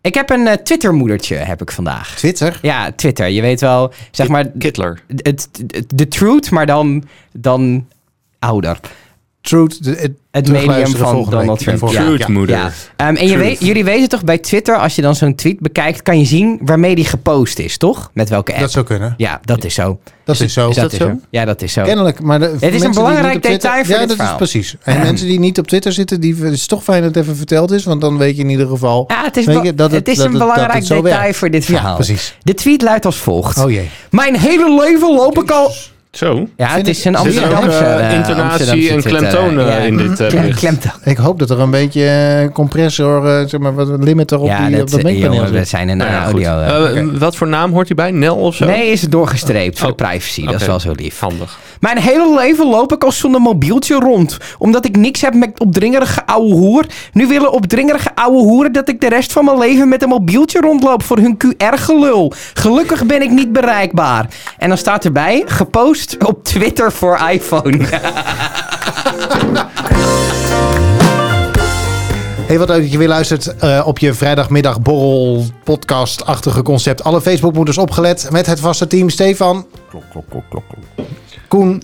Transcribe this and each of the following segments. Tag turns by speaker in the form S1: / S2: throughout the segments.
S1: Ik heb een eh, Twittermoedertje, heb ik vandaag.
S2: Twitter.
S1: Ja, Twitter. Je weet wel, zeg maar, d-
S3: Kittler.
S1: het, het- de truth, maar dan, dan ouder.
S2: Truth. de- het
S1: Het medium
S2: terugluisteren
S1: van
S2: volgende
S1: Donald
S2: week.
S1: Trump.
S2: Volgende-
S1: Ja.
S3: Truth moeder.
S1: Ja. Ehm, en je
S3: Truth.
S1: weet, jullie weten toch bij Twitter, als je dan zo'n tweet bekijkt, kan je zien waarmee die gepost is, toch? Met welke app.
S2: Dat zou kunnen.
S1: Ja, dat is zo.
S2: Dat is zo.
S1: Dus
S3: dat zo?
S1: Ja, dat is zo.
S2: Kennelijk, maar de, het
S1: een belangrijk detail voor
S2: Ja,
S1: dit
S2: dat
S1: verhaal.
S2: is precies. En mensen die niet op Twitter zitten, die het is toch fijn dat het even verteld is, want dan weet je in ieder geval.
S1: Ja, het is,
S2: weet
S1: wel-
S2: je,
S1: het, is een belangrijk
S2: het zo
S1: detail
S2: werkt.
S1: voor dit verhaal.
S2: Ja, precies.
S1: De tweet luidt als volgt.
S2: Oh jee.
S1: Mijn hele leven loop ik al...
S3: Zo.
S1: Ja, het
S2: Vind
S1: is
S2: ik-
S1: een
S2: zit
S3: er ook, eh,
S1: Amsterdamse... eh,
S3: intonatie
S1: Amsterdamse
S3: en
S1: Twitter,
S3: klemtoon, eh,
S1: ja.
S3: in dit, eh,
S1: Klem-
S3: bericht.
S1: Klemtoon.
S2: Ik hoop dat er een beetje eh, compressor, eh, zeg maar, wat een limiter op,
S1: Ja,
S2: die, op
S1: dat,
S2: dat mengpaneel
S1: jongen, we
S2: zit.
S1: zijn een
S3: Nou ja, goed.
S1: audio... eh.
S3: Eh, Wat voor naam hoort hij bij? Nel of zo?
S1: Nee, is het doorgestreept voor
S3: Oh,
S1: de privacy. Dat is
S3: oké.
S1: wel zo lief.
S3: Handig.
S1: Mijn hele leven loop ik als zonder mobieltje rond. Omdat ik niks heb met opdringerige ouwe hoer. Nu willen opdringerige ouwe hoeren dat ik de rest van mijn leven met een mobieltje rondloop voor hun QR-gelul. Gelukkig ben ik niet bereikbaar. En dan staat erbij, gepost op Twitter voor iPhone.
S2: Hey, wat leuk dat je weer luistert eh, op je vrijdagmiddag borrel podcast-achtige concept. Alle Facebookmoeders opgelet met het vaste team Stefan,
S3: Klok, klok, klok, klok.
S2: Koen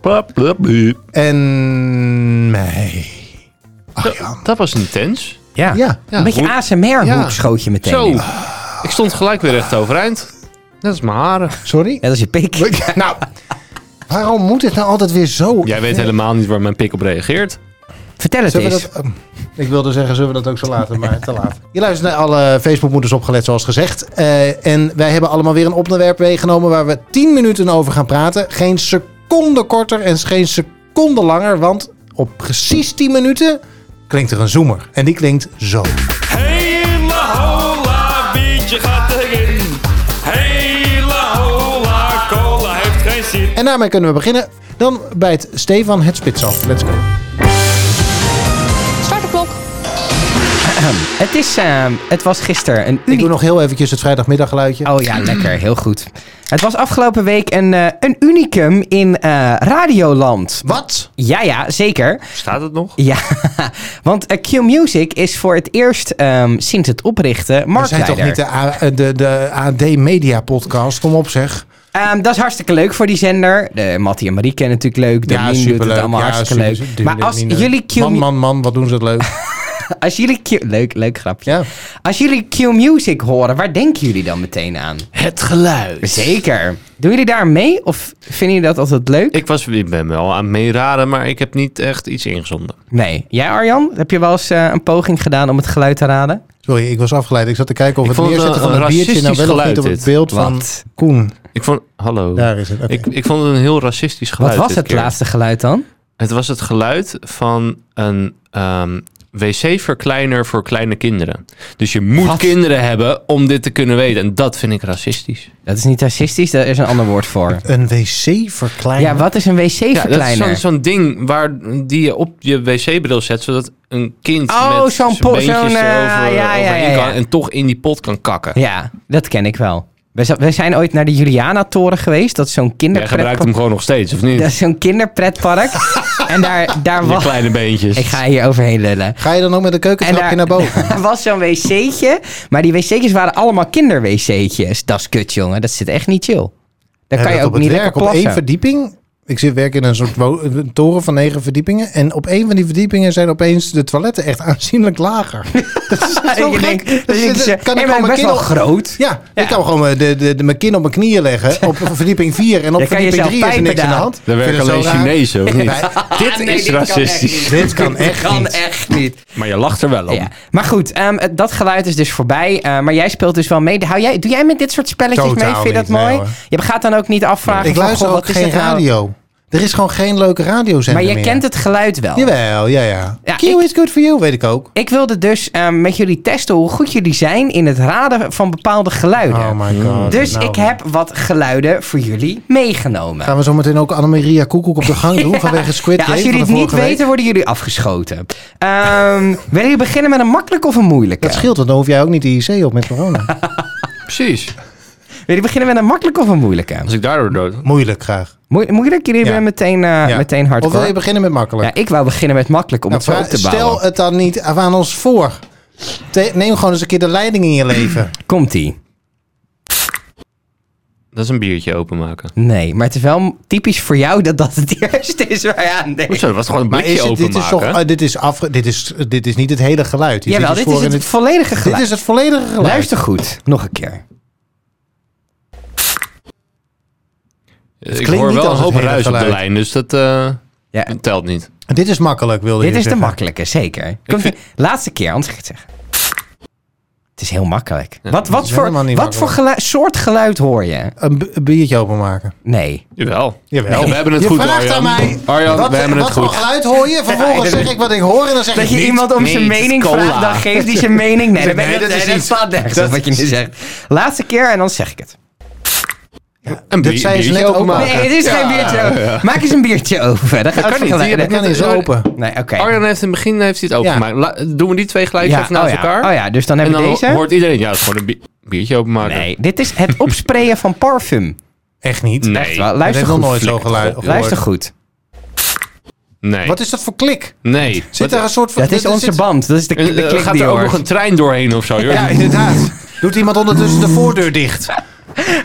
S3: Plap, plap, buup.
S2: en mij. Ach, Jan.
S3: Dat was intens.
S1: Ja,
S2: Ja.
S1: een beetje
S3: goed.
S1: ASMR
S2: Ja.
S1: schoot je meteen
S3: Zo.
S1: in.
S3: Ik stond gelijk weer recht overeind. Dat is mijn haren.
S2: Sorry?
S1: Ja, dat is je pik.
S2: Nou, waarom moet het nou altijd weer zo?
S3: Jij weet helemaal niet waar mijn pik op reageert.
S1: Vertel het
S2: Zullen we
S1: eens.
S2: dat, ehm, ik wilde zeggen, zullen we dat ook zo laten, maar te laat. Je luistert naar alle Facebookmoeders opgelet, zoals gezegd. Eh, en wij hebben allemaal weer een onderwerp meegenomen waar we 10 minuten over gaan praten. Geen seconde korter en geen seconde langer, want op precies 10 minuten klinkt er een zoemer. En die klinkt zo.
S4: Hele hola, biertje gaat erin. Hele hola, cola heeft geen zin.
S2: En daarmee kunnen we beginnen. Dan bijt Stefan het spits af. Let's go.
S5: Start de klok.
S1: Het, is, ehm, het was gisteren een
S2: Ik
S1: uniek
S2: doe nog heel eventjes het vrijdagmiddaggeluidje.
S1: Oh ja, lekker. Heel goed. Het was afgelopen week een, eh, een unicum in eh, Radioland.
S2: Wat?
S1: Ja, ja, zeker.
S3: Staat het nog?
S1: Ja, want eh, Q-Music is voor het eerst ehm, sinds het oprichten
S2: We zijn
S1: marktleider.
S2: toch niet de, A- eh, de, de AD Media podcast? Kom op zeg.
S1: Ehm, dat is hartstikke leuk voor die zender. De Mattie en Marieke natuurlijk leuk. De Mien doet het allemaal hartstikke
S2: super-
S1: leuk.
S2: super-
S1: Maar als
S2: Mine.
S1: jullie, Q,
S2: eh, Man, man, man, wat doen ze het leuk.
S1: als jullie Q... Leuk, leuk grapje.
S2: Ja.
S1: Als jullie Q-Music horen, waar denken jullie dan meteen aan?
S3: Het geluid.
S1: Zeker. Doen jullie daar mee? Of vinden jullie dat altijd leuk?
S3: Ik was, ik ben wel aan het meeraden, maar ik heb niet echt iets ingezonden.
S1: Nee. Jij, Arjan, heb je wel eens eh, een poging gedaan om het geluid te raden?
S2: Sorry, ik was afgeleid. Ik zat te kijken of
S3: Ik
S2: het
S3: vond het
S2: neerzetten
S3: een-
S2: van een,
S3: een
S2: biertje nou
S3: racistisch
S2: wel of niet
S3: geluid
S2: op het
S3: dit.
S2: beeld van
S1: Wat?
S2: Koen.
S3: Ik vond, hallo.
S2: Daar is het. oké.
S3: ik, ik vond het een heel racistisch
S1: Wat
S3: geluid.
S1: was
S3: dit
S1: het
S3: keer.
S1: laatste geluid dan?
S3: Het was het geluid van een ehm, wc-verkleiner voor kleine kinderen. Dus je moet
S1: Wat?
S3: kinderen hebben om dit te kunnen weten. En dat vind ik racistisch.
S1: Dat is niet racistisch, daar is een ander woord voor.
S2: Een wc-verkleiner.
S1: Ja, wat is een
S3: Ja, dat is
S1: wc-verkleiner?
S3: zo'n zo'n ding waar, die je op je wc-bril zet, zodat een kind
S1: Oh,
S3: met
S1: zo'n
S3: zijn
S1: po-
S3: beentjes
S1: zo'n, eh,
S3: erover,
S1: ja, ja,
S3: overheen
S1: ja,
S3: kan
S1: ja.
S3: en toch in die pot kan kakken.
S1: ja, dat ken ik wel. We, za- we zijn ooit naar de Juliana-toren geweest. Dat is zo'n
S3: Jij gebruikt
S1: kinderpretpark.
S3: hem gewoon nog steeds, of
S1: Dat
S3: niet?
S1: is zo'n kinderpretpark. en daar, daar
S3: Je
S1: was...
S3: kleine beentjes.
S1: Ik ga hier overheen lullen.
S2: Ga je dan ook met een keukentrapje
S1: daar-
S2: naar boven?
S1: Er was zo'n wc'tje, maar die wc'tjes waren allemaal kinderwc'tjes. Dat is kut, jongen. Dat zit echt niet chill. Daar kan
S2: Hebben
S1: je
S2: we
S1: ook
S2: op
S1: niet
S2: het
S1: lekker
S2: werk op één
S1: plassen.
S2: verdieping. Ik zit werk in een soort wo- een toren van negen verdiepingen. En op één van die verdiepingen zijn opeens de toiletten echt aanzienlijk lager. dat is echt zo
S1: Je
S2: gek.
S1: denkt,
S2: Dus
S1: dan denk
S2: dit-
S1: je, hey,
S2: kan ik
S1: maar
S2: gewoon
S1: ik
S2: mijn
S1: best
S2: kin
S1: wel
S2: op-
S1: groot.
S2: Ja,
S1: Ja.
S2: ik kan gewoon eh, de, de, de, mijn kin op mijn knieën leggen. Op verdieping 4 en op
S1: Je kan jezelf
S2: verdieping 3 is er niks
S1: pijpen
S2: aan de
S1: daar.
S2: hand.
S3: Daar
S2: Ik vind
S3: werken
S2: het
S3: alleen
S2: zo raar.
S3: Chinezen, of niet?
S2: Wij-
S3: Dit
S1: Ah, nee,
S3: is
S1: dit kan echt
S3: racistisch.
S1: niet.
S2: Dit kan
S1: Dit
S2: echt
S1: kan
S2: niet.
S1: echt niet.
S3: Maar je lacht er wel om.
S1: Ja. Maar goed, ehm, het- dat geluid is dus voorbij. eh, maar jij speelt dus wel mee. Hou jij, doe jij met dit soort spelletjes
S2: Totaal
S1: mee? Vind je dat
S2: niet, nee,
S1: mooi?
S2: hoor.
S1: je gaat dan ook niet afvragen.
S2: Ik
S1: van,
S2: luister
S1: goh,
S2: ook
S1: wat is
S2: geen
S1: het nou?
S2: radio. Er is gewoon geen leuke radiozender
S1: Maar je
S2: meer.
S1: kent het geluid wel.
S2: Jawel, ja, ja.
S1: Ja,
S2: Q
S1: ik-
S2: is good for you, weet ik ook.
S1: Ik wilde dus ehm, met jullie testen hoe goed jullie zijn in het raden van bepaalde geluiden.
S2: Oh my
S3: Hmm.
S2: god.
S1: dus
S2: Nou,
S1: ik heb wat geluiden voor jullie meegenomen.
S2: Gaan we zo meteen ook Annemaria Koekoek op de gang doen vanwege Squid
S1: Ja,
S2: Game
S1: als jullie
S2: van
S1: het
S2: de
S1: niet
S2: vorige week?
S1: weten, worden jullie afgeschoten. Ehm willen jullie beginnen met een makkelijke of een moeilijke?
S2: Dat scheelt, want dan hoef jij ook niet de IC op met corona.
S3: Precies.
S1: Willen jullie beginnen met een makkelijke of een moeilijke?
S3: Als ik daardoor dood...
S2: Moeilijk graag.
S1: Moe- moeilijk? Jullie
S2: Ja.
S1: hebben meteen, eh,
S2: Ja.
S1: meteen hard
S2: Of wil je beginnen met makkelijk?
S1: Ja, ik wou beginnen met makkelijk om
S2: Nou,
S1: het zo op te
S2: vraag-
S1: bouwen.
S2: stel het dan niet af aan ons voor. Te- neem gewoon eens een keer de leiding in je leven.
S1: Komt-ie.
S3: Dat is een biertje openmaken.
S1: Nee, maar het is wel typisch voor jou dat dat het eerste is waar je aan denkt.
S3: Zo, dat was gewoon een
S2: Maar is
S3: blikje
S2: het- dit, is
S3: openmaken.
S2: toch, eh, dit, is afge- dit, is, dit is niet het hele geluid. Dit
S1: Jawel, dit
S2: voor
S1: is het
S2: in
S1: volledige
S2: dit
S1: geluid.
S2: is het volledige geluid.
S1: Luister goed. Nog een keer.
S3: ik
S2: klinkt
S3: hoor
S2: niet
S3: wel een
S2: als het
S3: hoop
S2: hele
S3: ruis op de
S2: geluid.
S3: lijn, dus dat eh,
S1: Ja,
S3: dat telt niet.
S2: Dit is makkelijk, wilde
S1: dit
S2: je
S1: is de
S2: zeggen.
S1: makkelijke, zeker. Komt
S3: vind-
S1: Laatste keer, anders ga ik het zeggen. Het is heel makkelijk. Wat, wat,
S2: is
S1: voor,
S2: helemaal niet
S1: wat voor
S2: makkelijk.
S1: gelui- soort geluid hoor je?
S2: Een, b- een biertje openmaken.
S1: Nee.
S3: Jawel.
S2: Jawel.
S3: Ja, we hebben het
S2: je
S3: goed,
S2: vraagt aan
S3: Arjan.
S2: mij.
S3: Arjan,
S2: wat,
S3: we hebben het
S2: wat voor
S3: goed.
S2: geluid hoor je? Vervolgens zeg ik wat ik hoor en dan zeg
S1: Dat
S2: ik
S1: je
S2: niet.
S1: iemand om
S3: niet
S1: zijn mening
S3: cola.
S1: vraagt, dan geeft hij zijn mening. Nee,
S2: Nee,
S1: dat, ben-
S2: dat
S1: dat,
S2: is
S1: nee, dat
S2: niet-
S1: staat nergens
S2: dat
S1: op wat je nu zegt. Laatste keer en dan zeg ik het.
S3: Een
S2: Dat
S3: bier-
S2: zei ze net
S3: biertje
S2: ook al.
S1: Nee, het is geen biertje over. Maak eens een biertje over. Dat gaat
S3: kan niet,
S1: vergelijken.
S3: die heb
S2: Dan is het open.
S1: Nee, oké.
S3: Arjan heeft in het begin heeft hij het opengemaakt. La- doen we die twee gelijk even naast
S1: oh ja.
S3: elkaar?
S1: Oh ja, dus dan
S3: En
S1: hebben
S3: dan
S1: we
S3: ho-
S1: deze.
S3: hoort iedereen, ja, dat is gewoon een bi- biertje openmaken.
S1: Nee, dit is het opsprayen van parfum.
S2: Echt niet.
S3: Nee.
S1: Echt wel.
S2: Dat
S1: Luister
S2: heeft nog
S1: goed.
S2: nooit zo
S3: Flikker
S2: geluid
S3: op,
S2: gehoord.
S1: Luister goed.
S3: Nee.
S2: Wat is dat voor klik?
S3: nee.
S2: Zit
S3: Wat-
S2: er een soort van...
S1: Dat is
S2: er
S1: onze
S2: zit-
S1: band. Dat is de, de
S3: Eh, eh,
S1: klik
S3: gaat
S1: die
S3: er
S1: je
S3: ook
S1: hoort.
S3: nog een trein doorheen of zo? Joh?
S2: Ja, inderdaad. Doet iemand ondertussen de voordeur dicht?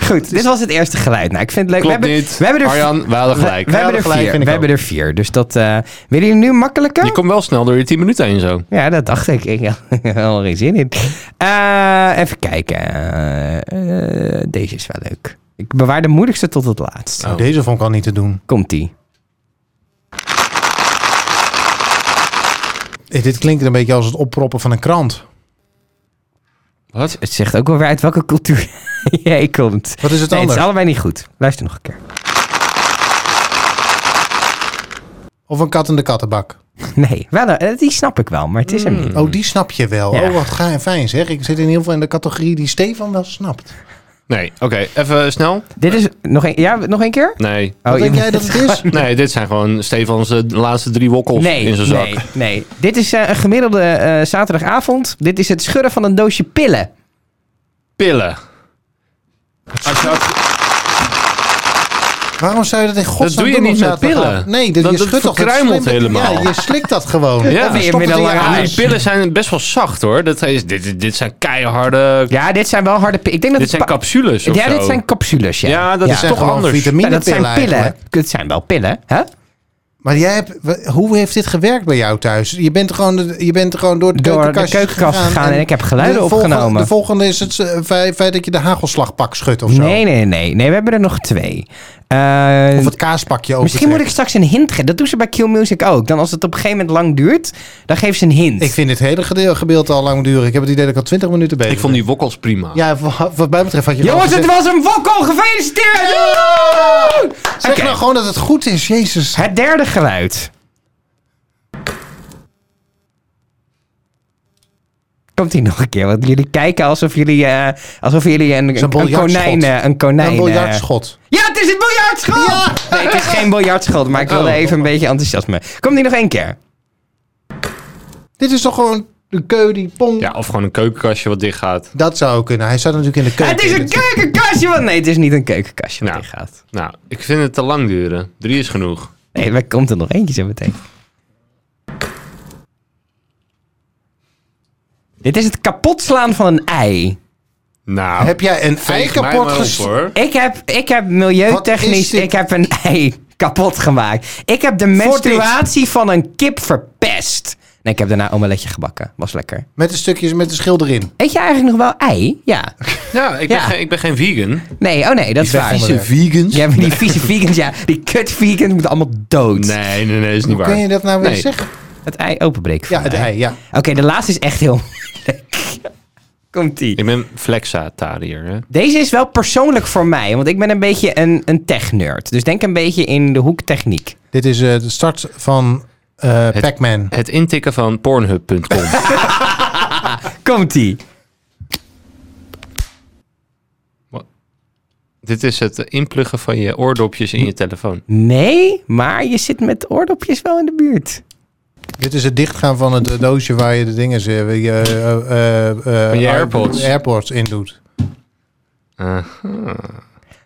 S1: Goed, dit was het eerste geluid. Nou, ik vind het leuk.
S3: Klopt
S1: we hebben,
S3: niet.
S1: We hebben er
S3: Arjan, we hadden
S1: we-
S3: gelijk.
S1: We,
S3: Ja,
S1: hebben er
S2: gelijk,
S1: vier.
S2: vind ik
S1: We hebben er vier. Dus dat... eh willen jullie nu makkelijker?
S3: Je komt wel snel door je 10 minuten heen zo.
S1: Ja, dat dacht ik. Ik had er helemaal geen zin in. Eh, even kijken. Eh, eh, deze is wel leuk. Ik bewaar de moeilijkste tot het laatst.
S2: Nou, deze vond ik al niet te doen.
S1: Komt-ie.
S2: Eh, Dit klinkt een beetje als het opproppen van een krant.
S3: Wat?
S1: Het zegt ook wel weer uit welke cultuur jij komt.
S2: Wat is het
S1: Nee, het
S2: anders?
S1: is allebei niet goed. Luister nog een keer.
S2: Of een kat in de kattenbak.
S1: Nee, wel, een- eh, die snap ik wel, maar het is hem
S3: Hmm.
S1: niet.
S2: Oh, die snap je wel.
S1: Ja.
S2: Oh, wat ga en fijn zeg. Ik zit in heel veel in de categorie die Stefan wel snapt.
S3: Nee, oké. Even snel.
S1: Dit is nog een, ja, nog een keer?
S3: Nee.
S1: Oh,
S2: Wat denk
S1: je-
S2: jij dat het is?
S3: Nee, dit zijn gewoon Stefans eh, laatste drie wokkels
S1: Nee,
S3: in zijn zak.
S1: nee, nee. Dit is eh, een gemiddelde eh, zaterdagavond. Dit is het schudden van een doosje pillen.
S3: Pillen. Als je ook-
S2: Waarom zou je dat in godsnaam
S3: doe je
S2: doen
S3: niet
S2: op
S3: met
S2: zaterdagavond?
S3: pillen.
S2: Nee, dat,
S3: Dat-
S2: je
S3: dat
S2: schudt toch
S3: verkruimelt
S2: slimme-
S3: helemaal.
S2: Ja, je slikt dat gewoon.
S3: Ja,
S2: Of je
S1: in
S2: stopt het in je
S1: middellange
S2: aas.
S3: en die
S1: Nice.
S3: pillen zijn best wel zacht hoor. Dat is, dit, dit zijn keiharde...
S1: Ja, dit zijn wel harde pillen. Ik denk dat
S3: Dit zijn
S1: het pa-
S3: capsules of
S1: Ja,
S3: zo.
S1: dit zijn capsules, ja.
S3: Ja, dat
S2: Dat
S3: is
S2: zijn
S3: toch
S2: gewoon
S3: anders.
S1: Ja, dat zijn
S2: Vitaminepillen
S1: pillen.
S2: eigenlijk.
S1: Het zijn wel pillen, hè?
S2: Maar jij hebt, wa- hoe heeft dit gewerkt bij jou thuis? Je bent gewoon, de- je bent gewoon door de,
S1: Door de
S2: keukenkastjes
S1: keukenkast gegaan en ik heb geluiden
S2: de volgende-
S1: opgenomen.
S2: De volgende is het eh, feit, feit dat je de hagelslagpak schudt of zo.
S1: Nee, nee, nee. Nee, we hebben er nog twee. Eh,
S2: Of oh, het kaaspakje over.
S1: misschien moet ik straks een hint geven. Dat doen ze bij Kill Music ook. Dan als het op een gegeven moment lang duurt, dan geven ze een hint.
S2: Ik vind dit hele gedeel, gedeelte al lang duren. Ik heb het idee dat ik al 20 minuten bezig
S3: Ik vond die wokkels prima.
S2: ben. Ja, wa- wat mij betreft had je wel
S1: Jongens, het
S2: gezegd-
S1: was een wokkel. Gefeliciteerd!
S2: Zeg
S1: Oké.
S2: nou gewoon dat het goed is, jezus.
S1: Het derde geluid. Komt ie nog een keer, want jullie kijken alsof jullie, eh, alsof jullie een,
S2: Zo'n
S1: een, een
S2: biljartschot.
S1: konijn... eh, Een konijn
S2: Een
S1: eh,
S2: biljartschot.
S1: Ja, het is een biljartschot! Nee, het is geen biljartschot, maar ik wilde
S3: Oh.
S1: even een beetje enthousiasme. Komt die nog één keer?
S2: Dit is toch gewoon de keu die pong.
S3: Ja, of gewoon een keukenkastje wat dicht gaat.
S2: Dat zou kunnen. Hij zat natuurlijk in de keuken.
S1: het is een keukenkastje! Want nee, het is niet een keukenkastje wat
S3: Nou.
S1: gaat.
S3: Nou, ik vind het te lang duren. Drie is genoeg.
S1: Nee, maar komt er nog eentje zo meteen. Dit is het kapotslaan van een ei.
S3: Nou,
S2: Heb jij een ei
S3: veeg mij
S2: kapot
S3: maar op,
S2: ges-
S3: hoor.
S1: Ik heb, ik heb
S2: Wat
S1: milieutechnisch,
S2: is dit?
S1: ik heb een ei kapot gemaakt. Ik heb de menstruatie van een kip verpest. Nee, ik heb daarna omeletje gebakken. Was lekker.
S2: Met de stukjes, met de schil erin.
S1: Eet je eigenlijk nog wel ei? Ja.
S3: Ja, ik ben,
S1: Ja.
S3: Geen, ik ben geen vegan.
S1: Nee, oh nee, dat is
S2: weg
S1: waar.
S2: onder de-
S3: vegans?
S1: Ja, maar die vieze vegans, ja. Die kut vegans moeten allemaal dood.
S3: Nee, nee, nee, is niet
S2: Hoe
S3: waar.
S2: kun je dat nou weer
S3: Nee.
S2: zeggen?
S1: Het ei openbreken van
S2: Ja, het
S1: een
S2: ei, ja.
S1: Oké, de laatste is echt heel moeilijk. Komt-ie.
S3: Ik ben flexatariër, hè?
S1: Deze is wel persoonlijk voor mij, want ik ben een beetje een, een tech-nerd. Dus denk een beetje in de hoek techniek.
S2: Dit is eh, de start van eh, Pac-Man.
S3: Het intikken van pornhub.com.
S1: Komt-ie.
S3: Wat? Dit is het eh, inpluggen van je oordopjes in je telefoon.
S1: Nee, maar je zit met oordopjes wel in de buurt.
S2: Dit is het dichtgaan van het eh, doosje waar je de dingen eh, je, eh, eh, eh,
S3: Van je AirPods.
S2: AirPods in doet.
S3: Eh,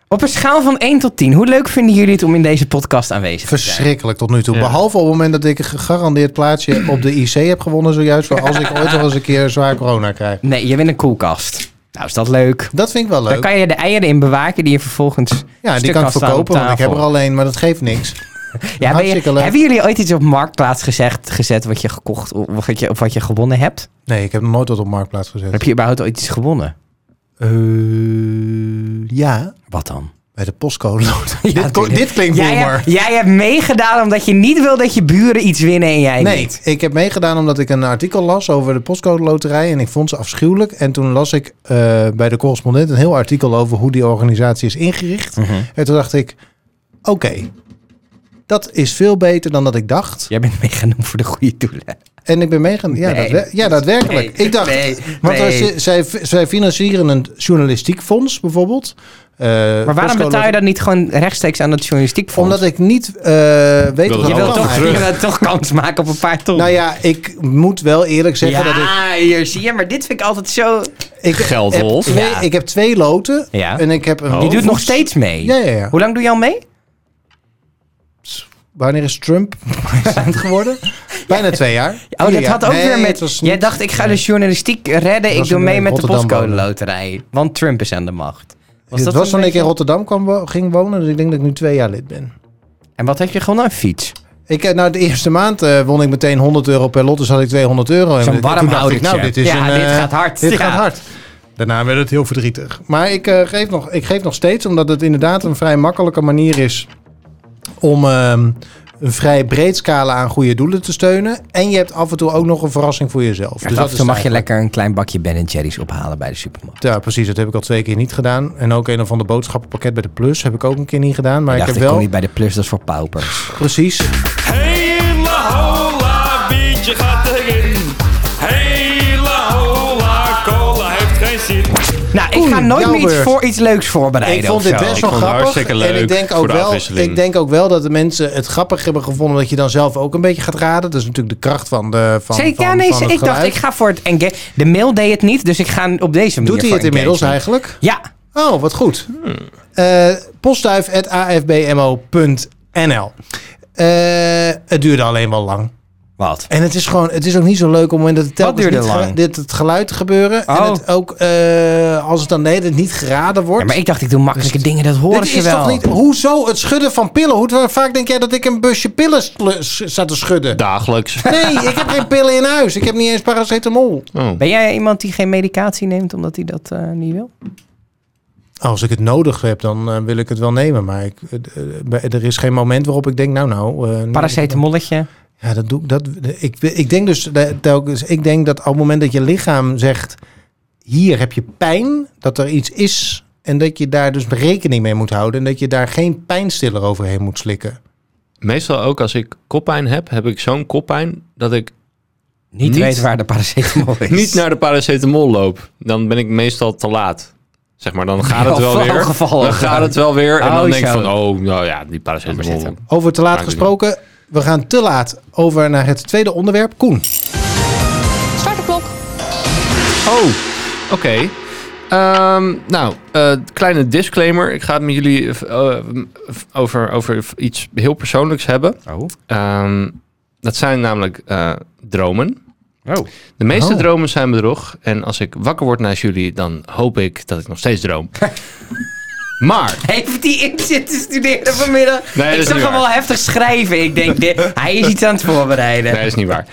S1: Op een schaal van 1 tot 10, hoe leuk vinden jullie het om in deze podcast aanwezig te zijn?
S2: Verschrikkelijk tot nu toe.
S3: Ja.
S2: Behalve op het moment dat ik een gegarandeerd plaatsje op de IC heb gewonnen zojuist. Voor als ik ooit nog eens een keer zwaar corona krijg.
S1: Nee, je bent een koelkast. Nou, is dat leuk.
S2: Dat vind ik wel
S1: Daar
S2: leuk.
S1: kan je de eieren in bewaken die je vervolgens.
S2: Ja, die
S1: stuk
S2: kan ik
S1: staan op
S2: verkopen, want ik heb
S1: tafel.
S2: er alleen, maar dat geeft niks.
S1: Ja, ben je-
S2: hartstikke leuk.
S1: hebben jullie ooit iets op marktplaats gezegd, gezet wat je gekocht of wat je, of wat je gewonnen hebt?
S2: Nee, ik heb nog nooit wat op marktplaats gezet.
S1: Heb je überhaupt ooit iets gewonnen?
S2: Eh, ja,
S1: Wat dan?
S2: bij de postcode loterij. dit, ko-
S1: natuurlijk.
S2: dit klinkt
S1: Jij,
S2: boomer.
S1: hebt- jij hebt meegedaan omdat je niet wil dat je buren iets winnen en jij
S2: Nee,
S1: niet.
S2: ik heb meegedaan omdat ik een artikel las over de postcode loterij en ik vond ze afschuwelijk. En toen las ik eh, bij de correspondent een heel artikel over hoe die organisatie is ingericht.
S1: Mhm.
S2: En toen dacht ik, oké, dat is veel beter dan dat ik dacht.
S1: Jij bent meegenomen voor de goede doelen.
S2: En ik ben meegaan. Ja,
S1: Nee.
S2: daadwer- ja daadwerkelijk.
S1: Nee.
S2: Ik dacht,
S1: Nee.
S2: want er
S1: Nee.
S2: zi- zij, zij financieren een journalistiek fonds bijvoorbeeld. Eh,
S1: Maar waarom betaal je dat niet gewoon rechtstreeks aan het journalistiek fonds?
S2: Omdat ik niet eh, weet
S3: Wil
S2: wat
S1: je
S3: dat
S2: ik
S1: wil
S3: Oh,
S1: toch,
S2: kan
S1: je
S2: eigenlijk.
S1: wil toch kans maken op een paar ton.
S2: Nou ja, ik moet wel eerlijk zeggen dat ik...
S1: ja, hier zie je, maar dit vind ik altijd zo.
S2: Ik
S3: Geldwolf.
S2: Heb twee,
S1: Ja.
S2: Ik heb twee loten.
S1: Ja. Oh.
S2: En ik heb een.
S1: Je doet nog steeds mee.
S2: Oh, Ja, ja, ja.
S1: Hoe lang doe je al mee?
S2: Wanneer is Trump president geworden? Bijna twee jaar.
S1: Oh,
S2: Vier
S1: dat
S2: jaar.
S1: had ook
S2: Nee,
S1: weer
S2: het
S1: met...
S2: was
S1: Jij
S2: niet-
S1: dacht, ik ga de journalistiek redden. Ik
S2: was
S1: doe
S2: in,
S1: mee
S2: eh,
S1: met de
S2: Rotterdam
S1: postcode
S2: wonen.
S1: loterij. Want Trump is aan de macht. Was
S2: het
S1: dat
S2: was
S1: een
S2: toen ik
S1: beetje-
S2: in Rotterdam kwam, wo- ging wonen, dus ik denk dat ik nu twee jaar lid ben.
S1: En wat heb je gewoon een fiets?
S2: Ik, eh, nou, de eerste maand eh, won ik meteen 100 euro per lot, dus had ik 200 euro. En
S1: Zo'n
S2: toen dacht
S1: warmhoudertje.
S2: ik, Nou, dit is
S1: Ja,
S2: een,
S1: dit
S2: eh,
S1: gaat hard.
S2: Dit
S1: Ja.
S2: gaat hard. Daarna werd het heel verdrietig. Maar ik, eh, geef nog, ik geef nog steeds, omdat het inderdaad een vrij makkelijke manier is om ehm, een vrij breed scala aan goede doelen te steunen. En je hebt af en toe ook nog een verrassing voor jezelf.
S1: Dus af en toe
S2: is
S1: mag je
S2: eigenlijk-
S1: lekker een klein bakje Ben Jerry's ophalen bij de supermarkt.
S2: Ja, precies. Dat heb ik al twee keer niet gedaan. En ook een of ander boodschappenpakket bij de Plus heb ik ook een keer niet gedaan. Maar
S1: Ik
S2: ik
S1: dacht,
S2: heb
S1: ik kom
S2: wel
S1: niet bij de plus, dat is voor paupers.
S2: precies
S4: Hele hola, biertje gaat erin. Hele hola, cola heeft geen zin.
S1: Nou, ik
S2: Oei,
S1: ga nooit
S2: jouw
S1: meer iets,
S2: beurt.
S1: voor, iets leuks voorbereiden
S2: Ik vond
S1: of
S2: dit
S1: zo.
S2: best wel
S3: vond het
S2: grappig.
S3: hartstikke
S2: en ik
S3: leuk
S2: denk,
S3: voor
S2: ook
S3: de
S2: wel,
S3: afwisseling.
S2: ik denk ook wel dat de mensen het grappig hebben gevonden. Dat je dan zelf ook een beetje gaat raden. Dat is natuurlijk de kracht van de. Van,
S1: Zeker,
S2: van,
S1: ja, nee,
S2: van het
S1: ik dacht,
S2: geluid.
S1: ik ga voor het engage. De mail deed het niet, dus ik ga op deze manier
S2: Doet hij
S1: voor
S2: het inmiddels
S1: engagement.
S2: eigenlijk?
S1: Ja,
S2: Oh, wat goed.
S3: Hmm.
S2: Eh, postduif.afbmo.nl Eh, Het duurde alleen wel lang.
S1: wat?
S2: En het is gewoon, het is ook niet zo leuk om het moment dat het telkens
S1: duurde
S2: niet ge-
S1: lang?
S2: dit het geluid gebeuren. En
S1: Oh.
S2: het ook eh, als het dan nee, dat niet geraden wordt.
S1: Ja, maar ik dacht, ik doe makkelijke dingen, dat horen
S2: Dit
S1: ze
S2: is
S1: wel.
S2: toch niet... Hoezo het schudden van pillen? Hoe vaak denk jij dat ik een busje pillen sl- s- zat te schudden?
S3: Dagelijks.
S2: Nee, ik heb geen pillen in huis. Ik heb niet eens paracetamol.
S3: Oh.
S1: Ben jij iemand die geen medicatie neemt omdat hij dat eh, niet wil?
S2: Als ik het nodig heb, dan eh, wil ik het wel nemen. Maar ik, eh, eh, bij- er is geen moment waarop ik denk, nou nou... eh, nu-
S1: Paracetamolletje.
S2: Ja, dat doe ik. Dat, ik, ik denk dus dat- telkens... Ik denk dat op het moment dat je lichaam zegt... Hier heb je pijn, dat er iets is... En dat je daar dus rekening mee moet houden. En dat je daar geen pijnstiller overheen moet slikken.
S3: Meestal ook als ik koppijn heb, heb ik zo'n koppijn dat ik
S1: Niet,
S3: Niet-
S1: weet waar de paracetamol is.
S3: niet naar de paracetamol loop. Dan ben ik meestal te laat. Zeg maar, dan gaat het
S1: Ja,
S3: wel weer.
S1: gevallen.
S3: Dan gaat het wel weer. En
S1: Oh,
S3: dan denk ik
S1: zo.
S3: van, oh, nou ja, die paracetamol.
S1: Paracetamol.
S2: Over te laat
S3: Maakt het
S2: gesproken. We gaan te laat over naar het tweede onderwerp. Koen.
S5: Start de klok.
S3: Oh, oké. Ehm, nou, eh, kleine disclaimer. Ik ga het met jullie eh, eh, over, over iets heel persoonlijks hebben.
S1: Oh.
S3: Ehm, dat zijn namelijk eh, dromen.
S1: Oh.
S3: De meeste
S2: Oh.
S3: dromen zijn bedrog. En als ik wakker word naast jullie, dan hoop ik dat ik nog steeds droom. maar,
S1: Heeft hij in zitten studeren vanmiddag?
S3: Nee, dat
S1: ik
S3: is
S1: zag
S3: niet
S1: hem
S3: waar.
S1: al heftig schrijven. Ik denk, dit, hij is iets aan het voorbereiden.
S3: nee, dat is niet waar.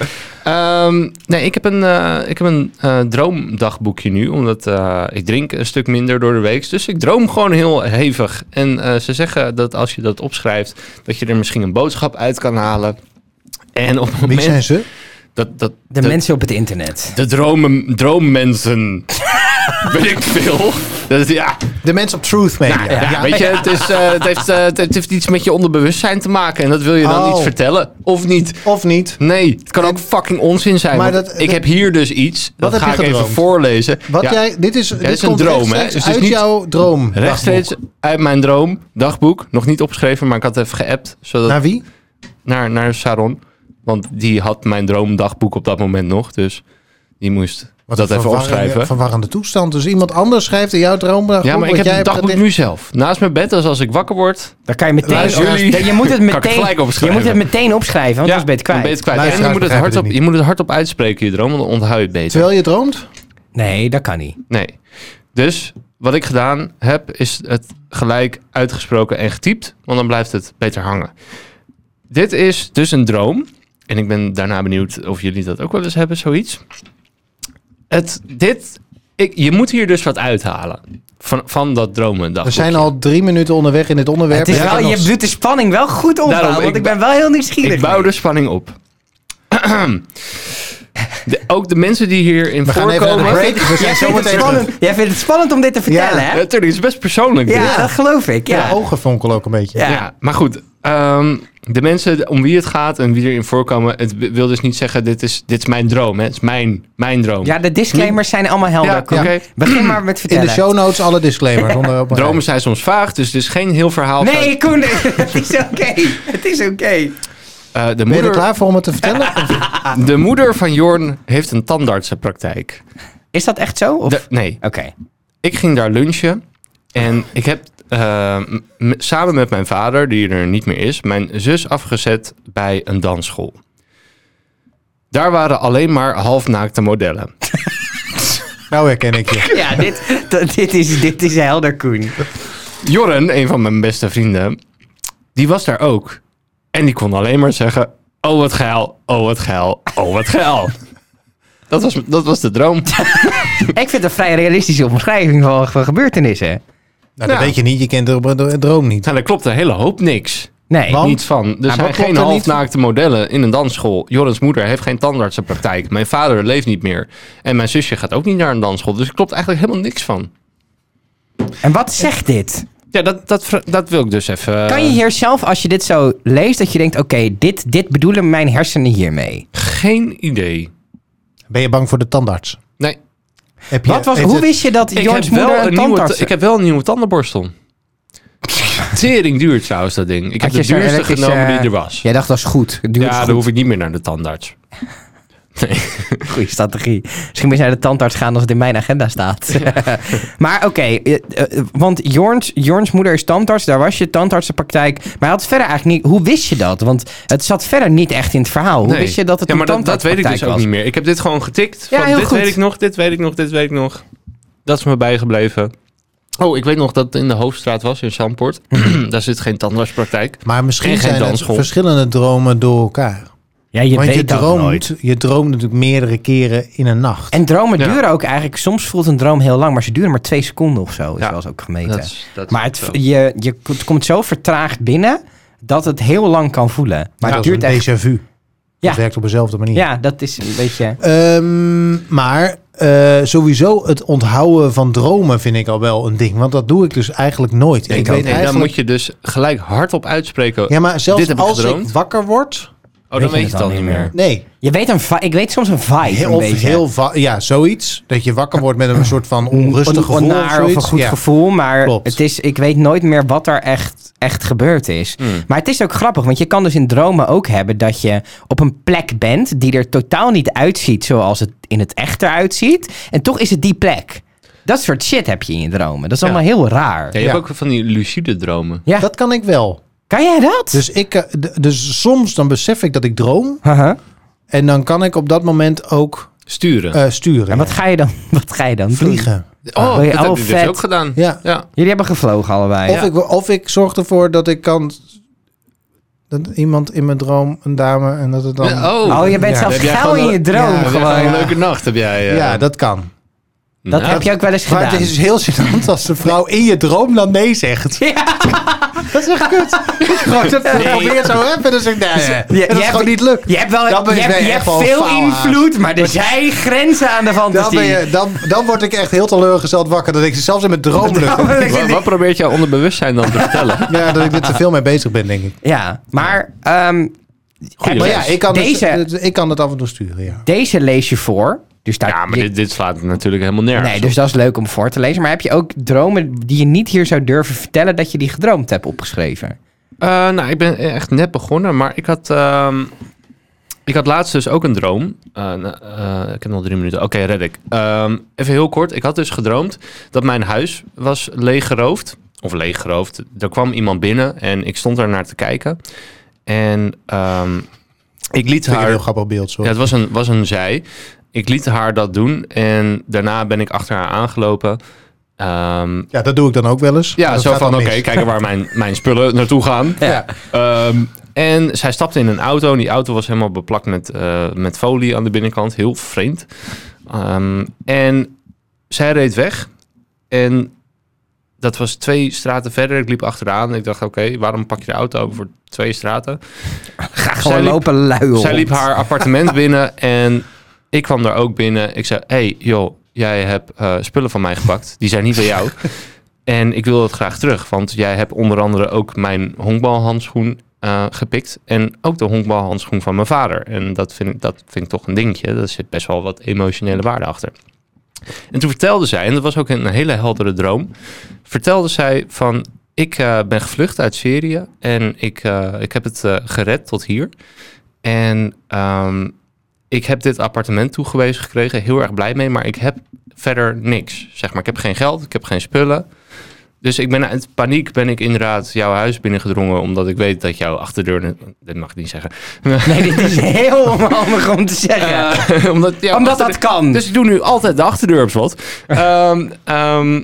S3: Ehm, nee, ik heb een, eh, ik heb een eh, droomdagboekje nu. Omdat eh, ik drink een stuk minder door de week. Dus ik droom gewoon heel hevig. En eh, ze zeggen dat als je dat opschrijft, dat je er misschien een boodschap uit kan halen. En op het
S2: Wie
S3: moment
S2: zijn ze?
S3: dat, dat,
S1: De
S3: dat-
S1: mensen op het internet.
S3: De dromen, droommensen. Weet ik veel. Dat is, ja,
S2: De mensen op Truth Media.
S3: Nou, ja, weet je, het, is, eh, het, heeft, eh, het heeft iets met je onderbewustzijn te maken. En dat wil je dan
S2: Oh.
S3: iets vertellen. Of niet.
S2: Of niet?
S3: Nee, het kan ook fucking onzin zijn.
S2: Maar
S3: want
S2: dat-
S3: ik
S2: dat-
S3: heb hier dus iets. Dat
S2: heb
S3: ga
S2: je
S3: ik even
S2: gedroomd?
S3: voorlezen.
S2: Wat
S3: Ja,
S2: jij, dit is, dit
S3: is een
S2: komt
S3: droom, hè?
S2: rechtstreeks
S3: Dus het is
S2: uit
S3: niet-
S2: jouw droom.
S3: Rechtstreeks uit mijn droom, dagboek. Nog niet opgeschreven, maar ik had het even geappt. Zodat,
S2: Naar
S3: naar,
S2: wie?
S3: naar, Saron. Want die had mijn droomdagboek op dat moment nog. Dus die moest
S2: Wat
S3: dat
S2: een eh,
S3: even
S2: verwarrende-
S3: opschrijven.
S2: Verwarrende toestand. Dus iemand anders schrijft in jouw droomdag
S3: Ja,
S2: op wat
S3: maar ik heb
S2: Oh, jij
S3: een
S2: hebt
S3: dagboek
S2: gedaan.
S3: nu zelf. Naast mijn bed, dus als ik wakker word.
S1: Dan kan je meteen...
S3: Luisteraars,
S1: Ja, je moet het
S3: kan ik
S1: meteen,
S3: gelijk
S1: je
S3: opschrijven.
S1: moet het meteen opschrijven, want
S3: Ja,
S1: dat Oh, is beter
S3: dan ben
S1: kwijt.
S3: je het kwijt. En je
S2: Luisteraars
S3: moet het,
S2: begrijpen dit
S3: hardop,
S2: niet.
S3: je moet het hardop uitspreken, je droom, want dan onthoud je het beter.
S2: Terwijl je droomt?
S1: Nee, dat kan niet.
S3: Nee. Dus wat ik gedaan heb, is het gelijk uitgesproken en getypt. Want dan blijft het beter hangen. Dit is dus een droom. En ik ben daarna benieuwd of jullie dat ook wel eens hebben, zoiets. Het, dit, ik, je moet hier dus wat uithalen van, van dat dromen.
S2: We zijn al drie minuten onderweg in dit onderwerp.
S1: Het is
S2: En ik
S1: wel,
S2: heb
S1: je
S2: nog-
S1: doet de spanning wel goed op,
S3: Daarom,
S1: want
S3: ik
S1: ik ben wel heel nieuwsgierig.
S3: Ik bouw de spanning op. De- ook de mensen die hierin
S2: We gaan even naar de
S3: voorkomen...
S2: break. We
S1: Jij
S2: zijn zo
S1: vindt, het
S2: meteen
S1: spannend,
S2: terug.
S1: jij vindt het spannend om dit te vertellen, hè?
S3: Natuurlijk, het oh. is best persoonlijk.
S1: Ja,
S3: dit.
S1: dat geloof ik. Ja.
S2: De ogen fonkelen ook een beetje.
S1: Ja.
S3: Ja, maar goed. ehm, de mensen om wie het gaat en wie erin voorkomen, het w- wil dus niet zeggen: dit is, dit is mijn droom. Hè? Het is mijn, mijn droom.
S1: Ja, de disclaimers zijn allemaal helder.
S3: Ja,
S1: Kom,
S3: oké.
S1: Begin maar met
S2: In
S1: vertellen.
S2: de show notes alle disclaimers. onder op een
S3: Dromen zijn soms vaag, dus het is geen heel verhaal.
S1: Nee, Koen, het is oké. Het is oké.
S3: Eh,
S2: Ben
S3: de,
S2: je er
S3: moeder,
S2: klaar voor om het te vertellen? Of-
S3: de moeder van Jorn heeft een tandartsenpraktijk.
S1: Is dat echt zo? Of?
S3: De- nee,
S1: Oké.
S3: ik ging daar lunchen en ik heb eh, m- samen met mijn vader, die er niet meer is, mijn zus afgezet bij een dansschool. Daar waren alleen maar halfnaakte modellen.
S2: nou herken ik je.
S1: Ja, dit, d- dit, is, dit is helder, Koen.
S3: Jorren, een van mijn beste vrienden, die was daar ook. En die kon alleen maar zeggen: Oh, wat geil, oh, wat geil, oh, wat geil. Dat was, dat was de droom.
S1: Ik vind het een vrij realistische omschrijving van, van gebeurtenissen.
S2: Nou,
S3: Ja.
S2: dat weet je niet. Je kent de dro- de droom niet.
S3: Nou, daar klopt een hele hoop niks.
S1: Nee.
S2: Want?
S3: Niets van. Er
S2: wat
S3: zijn
S2: klopt er
S3: geen
S2: niet?
S3: halfnaakte modellen in een dansschool. Jorrens moeder heeft geen tandartsenpraktijk. Mijn vader leeft niet meer. En mijn zusje gaat ook niet naar een dansschool. Dus er klopt eigenlijk helemaal niks van.
S1: En wat zegt dit?
S3: Ja, dat, dat, vra- dat wil ik dus even.
S1: Kan je hier zelf, als je dit zo leest, dat je denkt... Oké, dit, dit bedoelen mijn hersenen hiermee.
S3: Geen idee.
S2: Ben je bang voor de tandarts?
S3: Nee.
S2: Heb je,
S1: Wat was,
S2: heeft
S1: hoe
S2: het-
S1: wist je dat
S3: Ik heb,
S1: Jorns moeder
S3: wel
S1: een
S3: een nieuwe,
S1: tandarts...
S3: ta- ik heb wel een nieuwe tandenborstel. Tering duurt trouwens dat ding. Ik heb
S1: Had
S3: de
S1: je zo'n
S3: duurste
S1: elektrische-
S3: genomen die er was. Ja,
S1: Jij dacht, dat is goed. Het duurt goed.
S3: dan hoef ik niet meer naar de tandarts.
S1: Goede strategie. Misschien moet je naar de tandarts gaan als het in mijn agenda staat. maar oké, eh, eh, want Jorns, Jorns moeder is tandarts. Daar was je tandartsenpraktijk. Maar hij had verder eigenlijk niet... Hoe wist je dat? Want het zat verder niet echt in het verhaal. Hoe
S3: Nee.
S1: wist je dat het
S3: ja,
S1: een
S3: maar dat, dat weet ik dus
S1: tandartspraktijk
S3: ook
S1: was?
S3: niet meer. Ik heb dit gewoon getikt.
S1: Ja,
S3: van,
S1: heel
S3: dit
S1: goed.
S3: weet ik nog, dit weet ik nog, dit weet ik nog. Dat is me bijgebleven. Oh, ik weet nog dat het in de Hoofdstraat was, in Zandpoort. Daar zit geen tandartspraktijk.
S2: Maar misschien
S3: Geen- geen
S2: zijn het
S3: dansschool.
S2: verschillende dromen door elkaar.
S1: Ja, je
S2: Want
S1: weet
S2: je
S1: dat nooit.
S2: droomt, je droomt natuurlijk meerdere keren in een nacht.
S1: En dromen
S3: Ja.
S1: duren ook eigenlijk... Soms voelt een droom heel lang, maar ze duren maar twee seconden of zo. Is
S3: Ja,
S1: wel eens ook gemeten.
S3: Dat is- dat is
S1: maar
S3: ook
S1: het,
S3: zo.
S1: je, je, het komt zo vertraagd binnen... dat het heel lang kan voelen. Maar
S2: Ja,
S1: het
S2: dat
S1: duurt
S2: is een
S1: echt...
S2: déjà vu.
S1: Ja.
S2: Dat werkt op dezelfde manier.
S1: Ja, dat is een beetje...
S2: Ehm, maar eh, sowieso het onthouden van dromen vind ik al wel een ding. Want dat doe ik dus eigenlijk nooit.
S3: Nee,
S2: ik
S3: nee,
S2: weet
S3: Dan
S2: eigenlijk...
S3: moet je dus gelijk hardop uitspreken.
S2: Ja, maar
S3: Dit
S2: zelfs
S3: heb ik
S2: als ik
S3: gedroomd.
S2: wakker word...
S1: weet
S3: oh, dan
S1: je
S3: weet je
S1: het
S3: het al niet meer.
S2: Nee,
S1: Je weet een vi- ik weet soms een vibe
S2: heel,
S1: een
S2: of
S1: beetje.
S2: heel va- ja, zoiets. Dat je wakker wordt met een soort van onrustig
S1: een,
S2: gevoel.
S1: een
S2: of
S1: naar of
S2: zoiets.
S1: een goed
S2: Ja.
S1: gevoel, maar
S2: Klopt.
S1: het is, ik weet nooit meer wat er echt, echt gebeurd is.
S2: Mm.
S1: Maar het is ook grappig, want je kan dus in dromen ook hebben dat je op een plek bent die er totaal niet uitziet zoals het in het echt eruit ziet. En toch is het die plek. Dat soort shit heb je in je dromen. Dat is allemaal heel raar.
S3: Ja,
S1: Ja,
S3: je hebt
S2: Ja.
S3: ook van die lucide dromen.
S1: Ja.
S2: Dat kan ik wel.
S1: Kan jij dat?
S2: Dus, ik, eh, d- dus soms dan besef ik dat ik droom.
S1: Haha.
S2: En dan kan ik op dat moment ook
S3: Sturen.
S2: eh, sturen.
S1: En wat ga je dan, wat ga je dan doen?
S2: Vliegen.
S3: oh,
S1: wil je
S3: dat heb
S1: al
S3: ik dus
S1: vet-
S3: ook gedaan.
S2: Ja.
S3: ja.
S1: Jullie hebben gevlogen allebei.
S2: Of, ik, of ik zorg ervoor dat ik kan... Dat iemand in mijn droom, een dame, en dat het dan...
S3: Ja, oh.
S1: Oh, je bent
S2: Ja,
S1: zelfs
S3: heb jij
S1: geil
S3: gewoon
S1: in je
S3: een-
S1: droom.
S2: Ja,
S3: Ja,
S1: gewoon. eh,
S3: gewoon een leuke nacht heb jij. eh.
S2: Ja, dat kan.
S1: Dat
S3: Nou,
S1: heb je ook wel eens
S2: Maar
S1: gedaan.
S2: het is heel gênant als de vrouw in je droom dan nee zegt. Dat is echt kut. Gewoon, dat probeert zo even, dan zeg ik, nee, nee.
S1: Je-
S2: En dat
S1: je
S2: is
S1: hebt-
S2: gewoon niet lukt.
S1: Je hebt, wel,
S2: Dan ben
S1: je
S2: je
S1: hebt,
S2: echt
S1: je hebt
S2: wel een
S1: veel
S2: faalhaas.
S1: invloed, maar er zijn grenzen aan de
S3: Dus
S2: Dan,
S1: fantasie.
S2: ben je, dan, dan word ik echt heel teleurgesteld wakker. Dat ik zelfs in mijn droom lukt.
S3: wa- Wat, probeert jouw onderbewustzijn dan te vertellen?
S2: Ja, dat ik er te veel mee bezig ben, denk ik.
S1: Ja, maar ehm,
S3: Goeie
S2: Maar
S3: les.
S2: ja, ik kan,
S1: Deze-
S2: het, ik kan het af en toe sturen, ja.
S1: deze lees je voor. Dus daar,
S3: Ja, maar
S1: je-
S3: dit, dit slaat natuurlijk helemaal nergens.
S1: nee,
S3: op.
S1: dus dat is leuk om voor te lezen. Maar heb je ook dromen die je niet hier zou durven vertellen dat je die gedroomd hebt opgeschreven?
S3: Eh, nou, ik ben echt net begonnen, maar ik had. ehm, Ik had laatst dus ook een droom. Eh, nou, eh, ik heb nog drie minuten. Oké, red ik. Ehm, even heel kort. Ik had dus gedroomd dat mijn huis was leeggeroofd. Of leeggeroofd. Er kwam iemand binnen en ik stond daar naar te kijken. En ehm, ik liet
S2: Vind ik een
S3: haar...
S2: heel grappig beeld,
S3: Ja,
S2: sorry.
S3: het was een, was een zij. Ik liet haar dat doen en daarna ben ik achter haar aangelopen. Ehm,
S2: Ja, dat doe ik dan ook wel eens.
S3: ja,
S2: Dat
S3: zo
S2: gaat
S3: van,
S2: dan
S3: oké,
S2: mis.
S3: kijken waar mijn, mijn spullen naartoe gaan.
S2: Ja.
S3: Ehm, en zij stapte in een auto en die auto was helemaal beplakt met, eh, met folie aan de binnenkant. Heel vreemd. Ehm, en zij reed weg en dat was twee straten verder. Ik liep achteraan en ik dacht, oké, waarom pak je de auto over voor twee straten? Graag
S1: Gewoon lopen luiel.
S3: zij liep haar appartement binnen en ik kwam daar ook binnen. Ik zei, hey joh, jij hebt eh, spullen van mij gepakt. Die zijn niet bij jou. En ik wil dat graag terug, want jij hebt onder andere ook mijn honkbalhandschoen eh, gepikt. En ook de honkbalhandschoen van mijn vader. En dat vind, ik, dat vind ik toch een dingetje. Daar zit best wel wat emotionele waarde achter. En toen vertelde zij, en dat was ook een hele heldere droom, vertelde zij van, ik eh, ben gevlucht uit Syrië en ik, eh, ik heb het eh, gered tot hier. En ehm, ik heb dit appartement toegewezen gekregen, heel erg blij mee, maar ik heb verder niks. Zeg maar, ik heb geen geld, ik heb geen spullen. Dus ik ben uit paniek ben ik inderdaad jouw huis binnengedrongen, omdat ik weet dat jouw achterdeur, dit mag ik niet zeggen,
S1: Nee, dit is heel onhandig om te zeggen.
S3: Eh, omdat jouw
S1: Omdat
S3: achterdeur-
S1: dat kan.
S3: Dus ik doe nu altijd de achterdeur op slot. Ehm, ehm,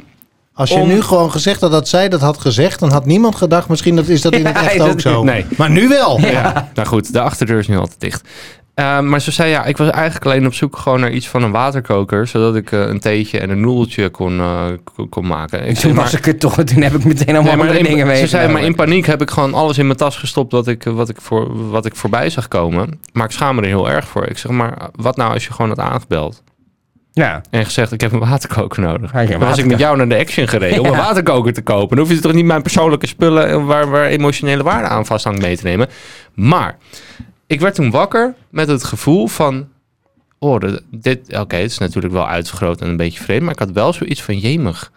S2: Als je
S3: om-
S2: nu gewoon gezegd had dat zij dat had gezegd, dan had niemand gedacht, misschien dat is dat in het
S1: Ja,
S2: echt
S1: dat-
S2: ook zo.
S3: nee.
S2: Maar nu wel.
S3: Ja. nou goed, de achterdeur is nu altijd dicht. Eh, maar ze zei ja, ik was eigenlijk alleen op zoek gewoon naar iets van een waterkoker, zodat ik eh, een theetje en een noedeltje kon, eh, kon- kon maken. Ik
S1: En toen
S3: zeg,
S1: was
S3: maar-
S1: ik het toch, toen heb ik meteen allemaal
S3: Nee, maar
S1: andere
S3: in-
S1: dingen mee.
S3: Ze zei, maar in paniek heb ik gewoon alles in mijn tas gestopt wat ik, wat, ik voor, wat ik voorbij zag komen. Maar ik schaam me er heel erg voor. Ik zeg, maar wat nou als je gewoon had aangebeld?
S1: Ja.
S3: En gezegd, ik heb een waterkoker nodig.
S1: Ja, ik heb
S3: Dan
S1: een
S3: was ik met jou naar de Action gereden om een
S1: Ja.
S3: waterkoker te kopen. Dan hoef je toch niet mijn persoonlijke spullen en waar, waar emotionele waarde aan vasthangt mee te nemen. Maar ik werd toen wakker met het gevoel van... Oh, dat- dit, oké, het is natuurlijk wel uitvergroot en een beetje vreemd. Maar ik had wel zoiets van, jemig.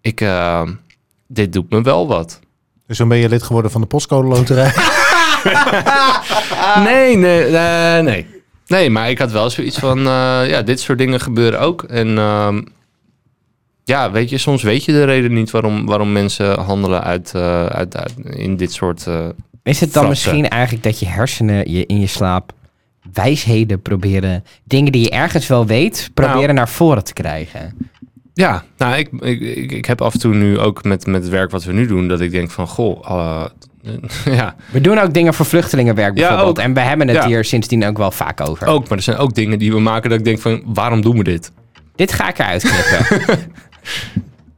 S3: Ik, eh, dit doet me wel wat.
S2: Dus dan ben je lid geworden van de postcode loterij.
S3: Nee, nee, eh, nee. Nee, maar ik had wel zoiets van, eh, ja, dit soort dingen gebeuren ook. En ehm, ja, weet je, soms weet je de reden niet waarom, waarom mensen handelen uit, eh, uit, uit- in dit soort... eh,
S1: Is het dan
S3: Frappen.
S1: misschien eigenlijk dat je hersenen je in je slaap wijsheden proberen, dingen die je ergens wel weet, proberen
S3: Nou.
S1: naar voren te krijgen?
S3: Ja, nou, ik, ik, ik, ik heb af en toe nu ook met, met het werk wat we nu doen, dat ik denk van, goh, eh, ja,
S1: We doen ook dingen voor vluchtelingenwerk
S3: Ja,
S1: bijvoorbeeld.
S3: ook.
S1: en we hebben het
S3: Ja.
S1: hier sindsdien ook wel vaak over.
S3: ook, maar er zijn ook dingen die we maken dat ik denk van, waarom doen we dit?
S1: Dit ga ik eruit knippen.
S3: Dat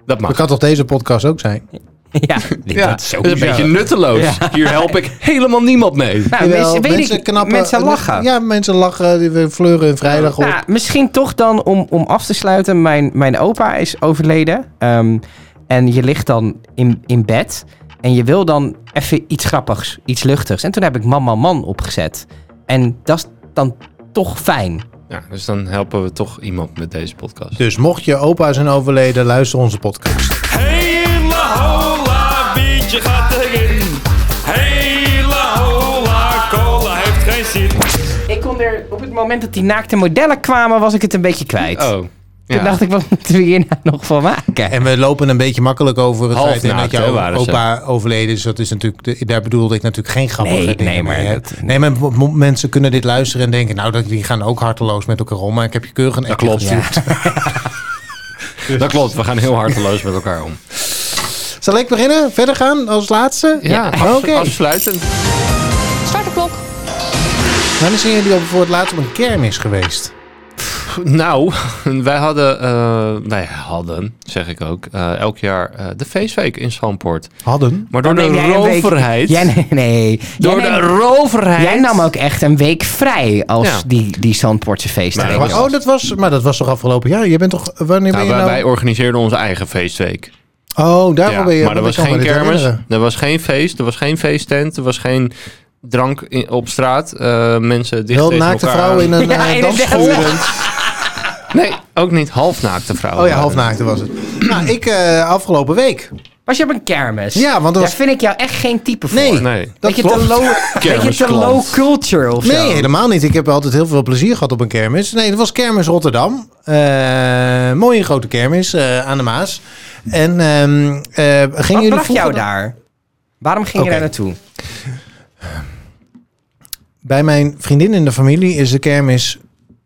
S2: Dat
S3: mag.
S2: kan toch deze podcast ook zijn?
S1: ja, dit-
S3: Ja,
S1: dat is
S3: dat is een beetje nutteloos. Hier help ik helemaal niemand mee.
S1: Nou,
S2: Jawel,
S1: mensen, weet ik,
S2: knappen-
S1: mensen lachen.
S2: Ja, mensen lachen, die we fleuren een vrijdag op.
S1: Nou, misschien toch dan om, om af te sluiten. Mijn, mijn opa is overleden. Ehm, en je ligt dan in, in bed. En je wil dan even iets grappigs, iets luchtigs. En toen heb ik Mama Man opgezet. En dat is dan toch fijn.
S3: Ja, dus dan helpen we toch iemand met deze podcast.
S2: Dus mocht je opa zijn overleden, luister onze podcast.
S4: Hele hola, biertje gaat erin. Hele hola, cola heeft geen zin.
S1: Ik kon er op het moment dat die naakte modellen kwamen, was ik het een beetje kwijt.
S3: Oh.
S1: Toen dacht ik, wat moeten we hier nou nog van maken?
S2: En we lopen een beetje makkelijk over het
S3: Half
S2: feit heen dat
S3: naakt,
S2: jouw
S3: hè, waren ze.
S2: opa overleden is. Dat is natuurlijk, de- daar bedoelde ik natuurlijk geen grappige
S1: Nee,
S2: dingen
S1: nee, maar
S2: mee, hè.
S1: dat-
S2: nee, maar mo- mo- mensen kunnen dit luisteren en denken... nou, dat, die gaan ook harteloos met elkaar om. Maar ik heb je keurig een appje
S3: klopt.
S2: gestuurd.
S3: Dat klopt, we gaan heel harteloos met elkaar om.
S2: Zal ik beginnen? Verder gaan als laatste?
S3: Ja,
S2: Oké.
S3: oké. afsluitend.
S5: Start de klok.
S2: Wanneer zijn jullie op, voor het laatst op een kermis geweest?
S3: Nou, wij hadden, eh, wij hadden, zeg ik ook, eh, elk jaar eh, de feestweek in Zandpoort.
S2: Hadden.
S3: Maar door
S1: Dan neem
S3: de
S1: jij een week-
S3: roverheid,
S1: Jij, nee, nee.
S3: door
S1: jij,
S3: de
S1: neemt-
S3: roverheid.
S1: jij nam ook echt een week vrij als
S3: Ja.
S1: die, die Zandpoortse feesten.
S3: Nou,
S1: Ik
S3: dat
S1: was-
S2: oh, dat was, maar dat was toch afgelopen jaar? Je bent toch, wanneer ben
S3: Nou, wij,
S2: je nou?
S3: wij organiseerden onze eigen feestweek.
S2: oh, daarom
S3: Ja,
S2: ben je.
S3: maar er
S2: want
S3: was
S2: ik kan
S3: geen
S2: me dit
S3: kermis,
S2: herinneren.
S3: er was geen feest, er was geen feesttent, er was geen drank in- op straat. eh, mensen dicht
S2: Wel
S3: tegen
S2: naakte
S3: elkaar
S2: vrouw
S3: aan.
S2: in een
S1: Ja,
S2: eh,
S1: inderdaad.
S2: dansschool.
S3: Nee, ook niet halfnaakte vrouwen.
S2: Oh ja, halfnaakte was het. nou, ik eh, afgelopen week
S1: Was je op een kermis?
S2: Ja, want dat
S1: Daar
S2: was-
S1: vind ik jou echt geen type voor.
S2: Nee,
S3: Nee. Dat
S2: dat
S1: Beetje te
S2: klopt.
S1: low, beetje te
S3: Kermisklant.
S1: low culture of zo.
S2: Nee, helemaal niet. Ik heb altijd heel veel plezier gehad op een kermis. Nee, dat was Kermis Rotterdam. Eh, mooie grote kermis eh, aan de Maas. En ehm eh, gingen
S1: Wat
S2: jullie
S1: bracht
S2: vroeger
S1: jou
S2: dan-
S1: daar? Waarom ging
S2: Oké.
S1: je daar naartoe?
S2: Bij mijn vriendin in de familie is de kermis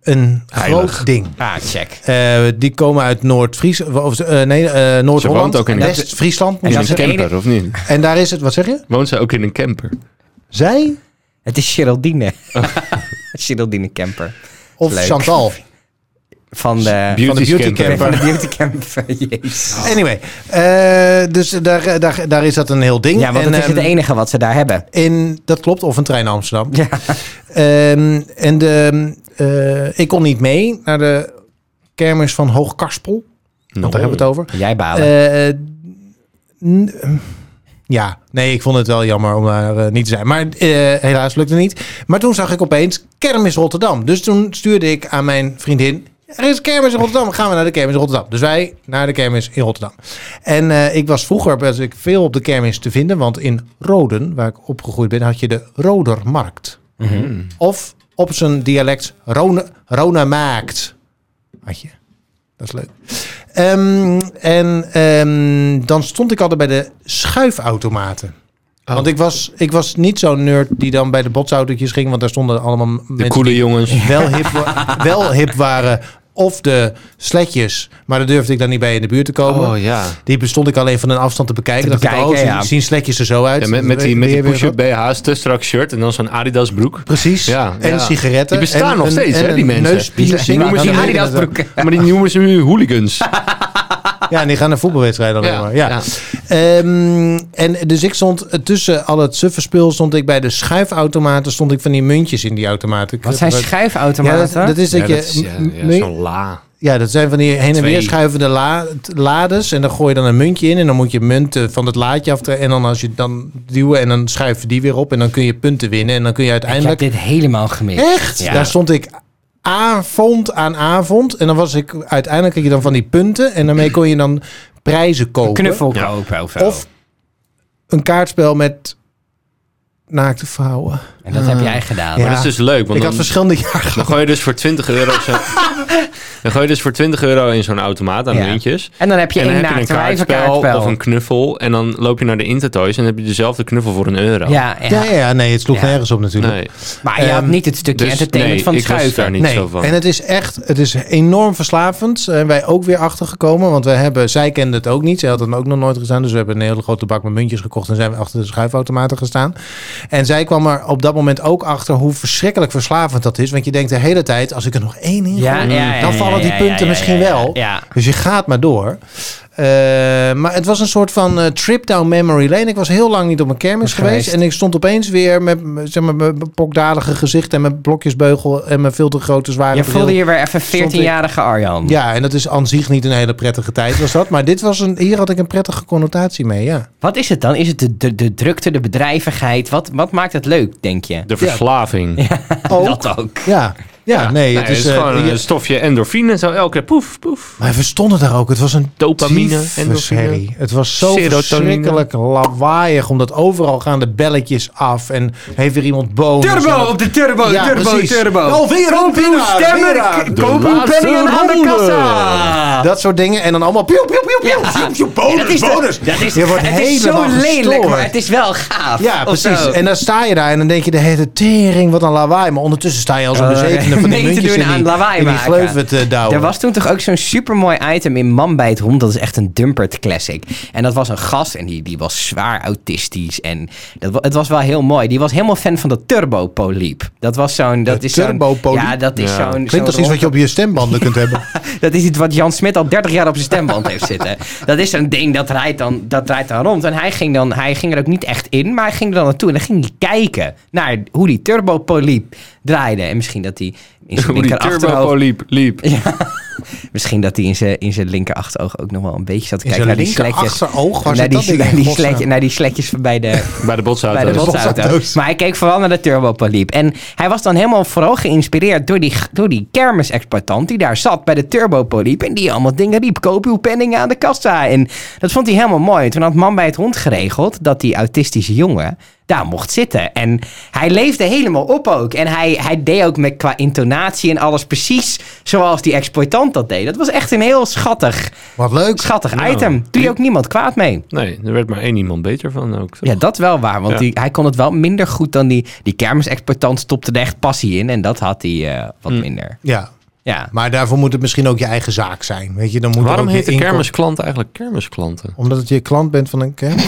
S2: een
S3: Heilig.
S2: groot ding.
S1: Ah, check.
S2: Eh, die komen uit Noord-Friesland. of, eh, nee, eh Noord-Holland.
S3: woont ook in-
S2: West-Friesland. moet
S1: En
S2: ik
S1: dat is
S3: In een
S1: het
S3: camper, of niet?
S2: zeggen. En daar is het, wat zeg je?
S3: Woont zij ook in een camper?
S2: Zij
S1: Het is Geraldine. Geraldine Kemper.
S2: of
S1: Leuk.
S2: Chantal?
S1: Van de,
S3: Beauty,
S2: Van de beauty
S3: camper.
S2: camper.
S1: van de beauty camper. Jezus.
S2: Anyway, eh, dus daar, daar, daar is dat een heel ding.
S1: Ja, want
S2: En,
S1: dat is het
S2: ehm,
S1: enige wat ze daar hebben.
S2: In, dat klopt, of een trein naar Amsterdam.
S1: Ja.
S2: Ehm, en de, eh, ik kon niet mee naar de kermis van Hoogkarspel. Want daar hebben we het over.
S1: Jij balen.
S2: Eh, n- eh, ja, nee, ik vond het wel jammer om daar eh, niet te zijn. Maar eh, helaas lukte niet. Maar toen zag ik opeens Kermis Rotterdam. Dus toen stuurde ik aan mijn vriendin... Er is kermis in Rotterdam. Gaan we naar de kermis in Rotterdam. Dus wij naar de kermis in Rotterdam. En eh, ik was vroeger best ik veel op de kermis te vinden. Want in Roden, waar ik opgegroeid ben, had je de Rodermarkt. Of op zijn dialect Rona, Rona maakt. Had je. Dat is leuk. Ehm, en ehm, dan stond ik altijd bij de schuifautomaten.
S3: Oh.
S2: Want ik was, ik was niet zo'n nerd die dan bij de botsautootjes ging. Want daar stonden allemaal
S3: De
S2: mensen
S3: coole jongens.
S2: die wel hip, wa- wel hip waren. Of de sletjes. Maar daar durfde ik dan niet bij in de buurt te komen.
S3: Oh ja.
S2: Die bestond ik alleen van een afstand te bekijken.
S1: Te
S2: dacht
S1: bekijken,
S2: ik, oh, zien,
S1: ja.
S2: zien sletjes er zo uit.
S3: Ja, met, met die, met
S2: Weer-
S3: die
S2: weer
S3: push-up
S2: wat.
S3: BH's, te strak shirt en dan zo'n Adidas broek.
S2: Precies.
S3: Ja,
S2: en
S3: ja.
S2: sigaretten.
S3: Die bestaan
S2: en
S3: nog
S2: een-
S3: steeds,
S2: en
S3: hè, die
S2: een
S3: mensen.
S2: neuspiercing.
S3: Die noemen ze
S2: Ja,
S1: Adidas
S2: dat-
S1: broek.
S3: Maar die noemen ze nu hooligans.
S2: Ja, en die gaan naar voetbalwedstrijden alleen
S3: Ja,
S2: maar. Ja.
S3: ja.
S2: Ehm, en dus ik stond eh, tussen al het suffe spul stond ik bij de schuifautomaten stond ik van die muntjes in die automaten. Ik-
S1: Wat zijn
S2: Ja,
S1: schuifautomaten?
S2: dat, dat is dat
S3: Ja,
S2: je.
S3: dat is, ja, ja,
S2: mu-
S3: zo'n la.
S2: ja, dat zijn van die heen en
S3: Twee.
S2: weer schuivende la- t- lades. En dan gooi je dan een muntje in. En dan moet je munten van het laadje af. En dan als je dan duwen en dan schuif je die weer op. En dan kun je punten winnen. En dan kun je
S1: Ik heb
S2: uiteindelijk.
S1: dit helemaal gemist.
S2: Echt?
S1: Ja.
S2: Daar stond ik avond aan avond. En dan was ik uiteindelijk had je dan van die punten. En daarmee kon je dan prijzen kopen.
S1: Knuffel kopen of zo.
S2: Of een kaartspel met naakte vrouwen.
S1: en dat heb jij gedaan.
S2: Ah. Ja.
S3: Maar dat is dus leuk, want
S2: ik had
S3: dan,
S2: verschillende jaren.
S3: dan gooi je dus voor 20 euro zo- dan gooi je dus voor 20 euro in zo'n automaat aan
S1: Ja.
S3: muntjes.
S1: En dan heb je
S3: En dan
S1: één
S3: heb je een
S1: naakt
S3: kaartspel
S1: wijvenkaartspel.
S3: of een knuffel. En dan loop je naar de Intertoys en dan heb je dezelfde knuffel voor een euro.
S1: Ja, ja.
S2: Ja, ja, ja, nee, het sloeg
S1: Ja.
S2: nergens op natuurlijk.
S3: Nee.
S1: maar je had
S2: Ehm,
S1: niet het stukje
S3: Dus
S1: entertainment
S3: nee,
S1: van het
S3: ik was
S1: schuiven.
S3: daar niet zo van.
S2: En het is echt, het is enorm verslavend. Zijn wij ook weer achtergekomen. Want we hebben, zij kende het ook niet. Zij had het ook nog nooit gedaan. Dus we hebben een hele grote bak met muntjes gekocht. En zijn we achter de schuifautomaten gestaan. En zij kwam er op dat moment ook achter hoe verschrikkelijk verslavend dat is. Want je denkt de hele tijd, als ik er nog één in
S1: Ja,
S2: gooi,
S1: ja, ja,
S2: dan
S1: ja,
S2: vallen die
S1: ja,
S2: punten
S1: ja, ja,
S2: misschien
S1: ja, ja,
S2: wel.
S1: ja.
S2: Dus je gaat maar door. Eh, maar het was een soort van eh, trip down memory lane. Ik was heel lang niet op een kermis
S1: Geweest.
S2: geweest. En ik stond opeens weer met m- zeg maar, mijn pokdalige gezicht en mijn blokjesbeugel en mijn veel te grote zware
S1: Je
S2: bril.
S1: voelde je weer even
S2: Stond ik-
S1: 14-jarige Arjan.
S2: Ja, en dat is aan zich niet een hele prettige tijd was dat. Maar dit was een, hier had ik een prettige connotatie mee, ja.
S1: Wat is het dan? Is het de, de, de drukte, de bedrijvigheid? Wat, wat maakt het leuk, denk je?
S3: De verslaving.
S2: Ook,
S1: Dat ook.
S2: ja. Ja, nee,
S3: Nee,
S2: het is... eh,
S3: gewoon
S2: je-
S3: een stofje endorfine. Zo elke keer poef, poef.
S2: maar we stonden daar ook. Het was een
S3: Dopamine, endorfine.
S2: en Het was zo
S3: Serotonine.
S2: verschrikkelijk lawaaiig. Omdat overal gaan de belletjes af. en heeft weer iemand bonus. En dat-
S1: de turbo,
S2: Ja, precies. Alweer een
S1: Koop uw
S2: winnaar,
S1: stemmer,
S2: winnaar.
S1: k-
S2: De
S1: koop uw
S2: laatste
S1: penningen aan de
S2: ronde.
S1: kassa.
S2: Dat soort dingen. En dan allemaal pieuw, pieuw, pieuw, pieuw.
S1: Ja.
S2: Zoep, zoep, bonus,
S1: dat is de-
S2: Oh, bonus.
S1: Dat is,
S2: je wordt
S1: het is
S2: helemaal
S1: zo lelijk,
S2: gestoord.
S1: maar het is wel gaaf.
S2: Ja,
S1: Of
S2: precies.
S1: zo.
S2: En dan sta je daar en dan denk je de hele tering, wat een lawaai. Maar ondertussen sta je als een
S1: Eh,
S2: bezetene van die
S1: mee te
S2: muntjes
S1: doen
S2: in die,
S1: aan lawaai
S2: in die
S1: maken.
S2: gleuven te douwen.
S1: Er was toen toch ook zo'n supermooi item in Man bij het Hond. Dat is echt een dumpert classic. En dat was een gast en die, die was zwaar autistisch. En dat, wa- het was wel heel mooi. Die was helemaal fan van de Turbo Polyp. Dat was zo'n... Dat
S2: De
S1: is zo'n-
S2: Turbo Polyp?
S1: Ja, dat is
S3: Ja.
S1: zo'n... zo'n
S2: Klinkt als iets wat je op je stembanden kunt hebben.
S1: Dat is iets wat Jan Smit al 30 jaar op zijn stemband heeft zitten. Dat is een ding, dat rijdt dan, dat rijdt dan rond. En hij ging, dan, hij ging er ook niet echt in, maar hij ging er dan naartoe. En dan ging hij kijken naar hoe die turbopoliep draaide. En misschien dat hij in zijn
S3: Hoe die
S1: linkerachterhoofd...
S3: turbo liep. liep.
S1: Misschien dat hij in zijn, in zijn linker achteroog ook nog wel een beetje zat te
S2: In
S1: kijken
S2: zijn
S1: naar die
S2: linker
S1: slekjes.
S2: achteroog was
S1: Naar
S2: het
S1: die,
S2: dat
S1: sle-
S2: ding.
S1: naar,
S2: in
S1: die
S2: godsnaam.
S1: slekje, naar die slekjes bij de,
S3: Bij de botsauto.
S1: bij de botsauto.
S2: botsauto's.
S1: Maar hij keek vooral naar de turbopaliep. En hij was dan helemaal vooral geïnspireerd door die, door die kermisexploitant die daar zat bij de turbopaliep. En die allemaal dingen riep. Koop uw penning aan de kassa. En dat vond hij helemaal mooi. En toen had man bij het hond geregeld dat die autistische jongen daar mocht zitten. En hij leefde helemaal op ook. En hij, hij deed ook met, qua intonatie en alles precies zoals die exploitant dat deed. Dat was echt een heel schattig,
S2: Wat leuk.
S1: schattig
S3: Nou,
S1: item. Doe je ook niemand kwaad mee.
S3: Nee, er werd maar één iemand beter van ook. toch?
S1: Ja, dat wel waar. Want
S3: Ja.
S1: die, hij kon het wel minder goed dan die, die kermisexploitant stopte er echt passie in. En dat had hij eh, wat
S3: Mm.
S1: minder.
S2: Ja,
S1: Ja.
S2: maar daarvoor moet het misschien ook je eigen zaak zijn. Weet je, dan moet er
S3: Waarom
S2: ook je
S3: heet de
S2: inkom-
S3: kermisklant eigenlijk kermisklanten?
S2: Omdat het je klant bent van een kermis.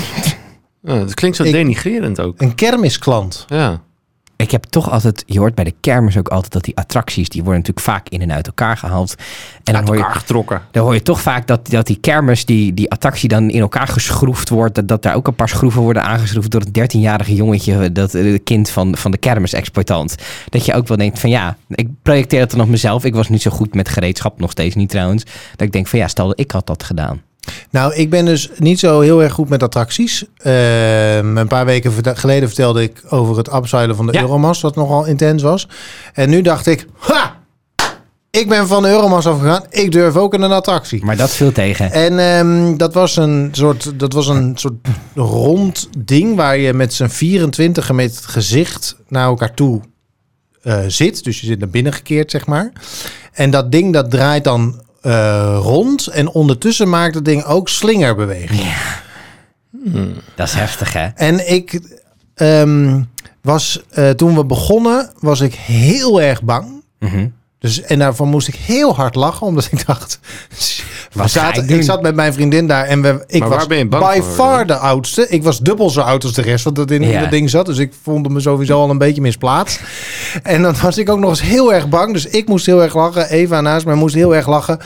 S3: Ja, dat klinkt zo
S2: Ik-
S3: denigrerend ook.
S2: Een kermisklant.
S3: Ja.
S1: Ik heb toch altijd, je hoort bij de kermis ook altijd dat die attracties, die worden natuurlijk vaak in en uit elkaar gehaald. En dan hoor je,
S3: getrokken.
S1: dan hoor je toch vaak dat, dat die kermis, die, die attractie dan in elkaar geschroefd wordt. Dat, dat daar ook een paar schroeven worden aangeschroefd door het 13-jarige jongetje, dat eh, kind van, van de kermisexploitant. Dat je ook wel denkt van ja, ik projecteer het dan op mezelf. Ik was niet zo goed met gereedschap, nog steeds niet trouwens. Dat ik denk van ja, stel dat ik had dat gedaan.
S2: Nou, ik ben dus niet zo heel erg goed met attracties. Ehm, een paar weken verte- geleden vertelde ik over het upzuilen van de
S1: Ja.
S2: Euromast, wat nogal intens was. En nu dacht ik, ha! Ik ben van de Euromast afgegaan. Ik durf ook in een attractie.
S1: Maar dat viel tegen.
S2: En ehm, dat, was een soort, dat was een soort rond ding waar je met z'n 24 met het gezicht naar elkaar toe eh, zit. Dus je zit naar binnen gekeerd, zeg maar. En dat ding dat draait dan eh, rond. En ondertussen maakt het ding ook slingerbewegingen.
S1: Dat is heftig, hè?
S2: En ik ehm, was, eh, toen we begonnen, was ik heel erg bang.
S1: Mhm.
S2: Dus, en daarvan moest ik heel hard lachen, omdat ik dacht... we
S1: Wat ga
S2: zaten-
S1: ik
S2: ik,
S1: doen?
S2: zat met mijn vriendin daar en we, ik
S3: Maar waar
S2: was
S3: ben je bang
S2: by
S3: voor?
S2: far de oudste. Ik was dubbel zo oud als de rest, want dat in
S1: Ja.
S2: dat ding zat. Dus ik voelde me sowieso al een beetje misplaatst. En dan was ik ook nog eens heel erg bang. Dus ik moest heel erg lachen. Eva naast mij moest heel erg lachen.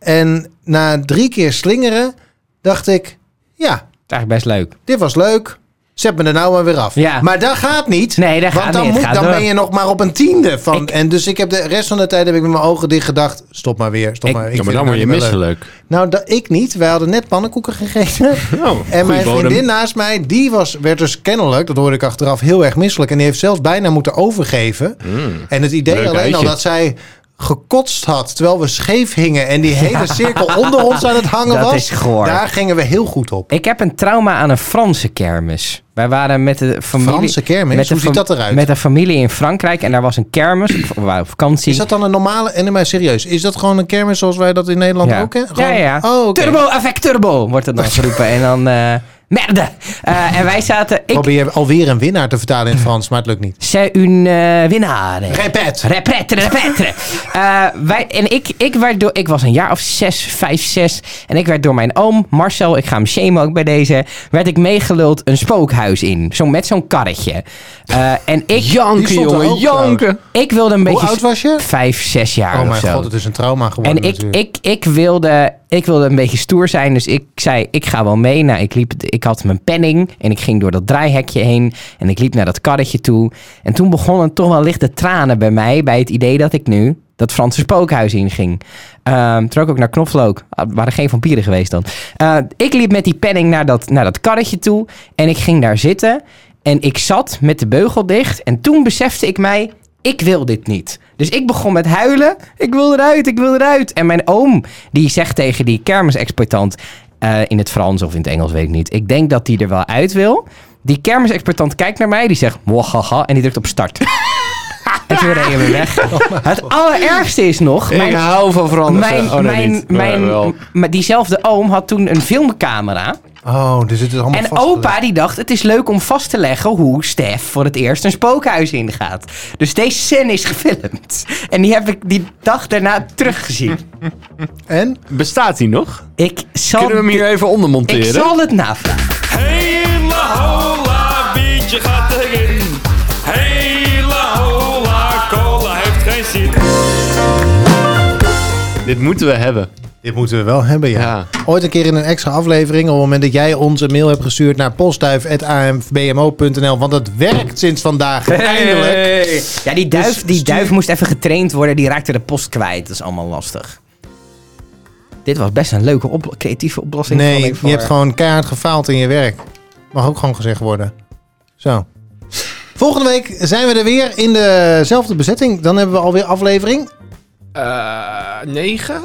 S2: En na drie keer slingeren dacht ik... Ja,
S1: Het is eigenlijk best leuk.
S2: dit was leuk. Zet me er nou maar weer af.
S1: Ja.
S2: Maar dat gaat niet.
S1: Nee, dat
S2: want
S1: gaat
S2: dan,
S1: niet. Het
S2: Moet,
S1: gaat
S2: dan
S1: door.
S2: ben je nog maar op een tiende van.
S1: Ik-
S2: en dus ik heb de rest van de tijd heb ik met mijn ogen dicht gedacht. Stop maar weer. Stop
S1: Ik-
S2: maar. Ik
S3: Ja, maar
S2: vind
S3: dan
S2: het
S3: word je
S2: nou niet meer leuk.
S3: misselijk.
S2: Nou, dat, ik niet. Wij hadden net pannenkoeken gegeten.
S3: Nou,
S2: En mijn vriendin naast mij, die was, werd dus kennelijk, dat hoorde ik achteraf, heel erg misselijk. En die heeft zelfs bijna moeten overgeven. en het idee
S3: Mm. Leuk
S2: alleen al
S3: uitje.
S2: dat zij gekotst had, terwijl we scheef hingen en die hele cirkel onder ons aan het hangen
S1: Dat
S2: was.
S1: is goor.
S2: Daar gingen we heel goed op.
S1: Ik heb een trauma aan een Franse kermis. Wij waren met de familie...
S2: Franse kermis?
S1: met de
S2: Hoe ziet
S1: fam-
S2: dat eruit?
S1: Met een familie in Frankrijk en daar was een kermis. we waren op vakantie.
S2: Is dat dan een normale, en maar serieus, is dat gewoon een kermis zoals wij dat in Nederland
S1: ja.
S2: ook kennen?
S1: ja,
S2: Gewoon-
S1: ja, ja.
S2: Oh, oké.
S1: Turbo, affect turbo, wordt het dan geroepen. en dan... eh, merde! Eh, en wij zaten... Ik,
S2: Probeer alweer een winnaar te vertalen in het Frans, maar het lukt niet.
S1: c'est une eh, winnaar.
S2: Repet.
S1: Repetre, repetre. Eh, wij, en ik, ik, werd door, ik was een jaar of zes, vijf, zes. En ik werd door mijn oom, Marcel, ik ga hem shamen ook bij deze. Werd ik meegeluld een spookhuis in. Zo, met zo'n karretje. Eh, en ik...
S3: Janken,
S2: stond er
S3: jongen,
S2: ook
S3: janken.
S1: Ik wilde een beetje...
S2: Hoe oud was je?
S1: Vijf, zes jaar
S2: Oh
S1: of
S2: mijn
S1: zo.
S2: god, het is een trauma geworden
S1: En ik,
S2: natuurlijk.
S1: ik, ik, wilde, ik wilde een beetje stoer zijn, dus ik zei, ik ga wel mee. Nou, ik, liep, ik had mijn penning en ik ging door dat draaihekje heen en ik liep naar dat karretje toe. En toen begonnen toch wel lichte tranen bij mij, bij het idee dat ik nu dat Franse spookhuis inging. Ehm toen ook naar Knoflook. Ah, Er waren geen vampieren geweest dan. Eh, ik liep met die penning naar dat, naar dat karretje toe en ik ging daar zitten. En ik zat met de beugel dicht en toen besefte ik mij, ik wil dit niet. Dus ik begon met huilen. Ik wil eruit, ik wil eruit. En mijn oom, die zegt tegen die kermisexploitant... eh, in het Frans of in het Engels, weet ik niet. Ik denk dat die er wel uit wil. Die kermisexploitant kijkt naar mij, die zegt... Wahaha, en die drukt op start. en toen reden we weg. Het allerergste is nog...
S3: Ik hou van Fransen.
S1: mijn,
S3: Oh, nee,
S1: mijn,
S3: niet.
S1: mijn,
S3: Ja, wel.
S1: maar diezelfde oom had toen een filmcamera.
S2: Oh, dus het is allemaal
S1: En
S2: vastgelegd.
S1: opa die dacht, het is leuk om vast te leggen hoe Stef voor het eerst een spookhuis ingaat. Dus deze scène is gefilmd. En die heb ik die dag daarna teruggezien.
S2: En?
S3: Bestaat die nog?
S1: Ik zal,
S3: Kunnen we hem hier even onder
S1: Oh, ik
S3: monteren?
S1: zal het navragen.
S4: Hele hola, biertje gaat erin. Hele hola, cola heeft geen zin.
S3: Dit moeten we hebben.
S2: Dit moeten we wel hebben, ja.
S3: Ja.
S2: Ooit een keer in een extra aflevering, op het moment dat jij ons een mail hebt gestuurd naar postduif.ambmo.nl, want dat werkt sinds vandaag eindelijk.
S1: Ja, die duif, die
S2: Dus stuur-
S1: duif moest even getraind worden. Die raakte de post kwijt. Dat is allemaal lastig. Dit was best een leuke op creatieve oplossing. vond
S2: Nee,
S1: ik, voor-
S2: je hebt gewoon keihard gefaald in je werk. Mag ook gewoon gezegd worden. Zo. Volgende week zijn we er weer in dezelfde bezetting. Dan hebben we alweer aflevering.
S3: Eh, negen?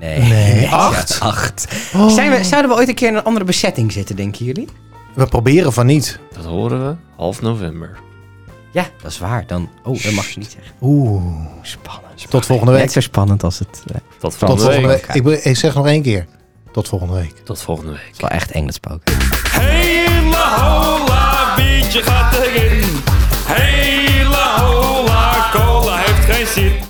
S1: Nee. Acht? Acht.
S2: Oh.
S1: Zijn we, zouden we ooit een keer in een andere bezetting zitten, denken jullie?
S2: We proberen van niet.
S3: Dat horen we half november.
S1: Ja, dat is waar. Dan, oh, dat mag je niet zeggen.
S2: Oeh.
S1: Spannend.
S2: Tot volgende week.
S1: Net zo spannend als het... eh, het
S2: Tot
S3: Tot volgende,
S2: volgende
S3: week.
S2: week. Ik, be- ik zeg nog één keer. Tot volgende week.
S3: Tot volgende week.
S1: is wel echt eng, dat spook.
S4: Hele hola, biertje gaat erin. Hele hola, cola heeft geen zin.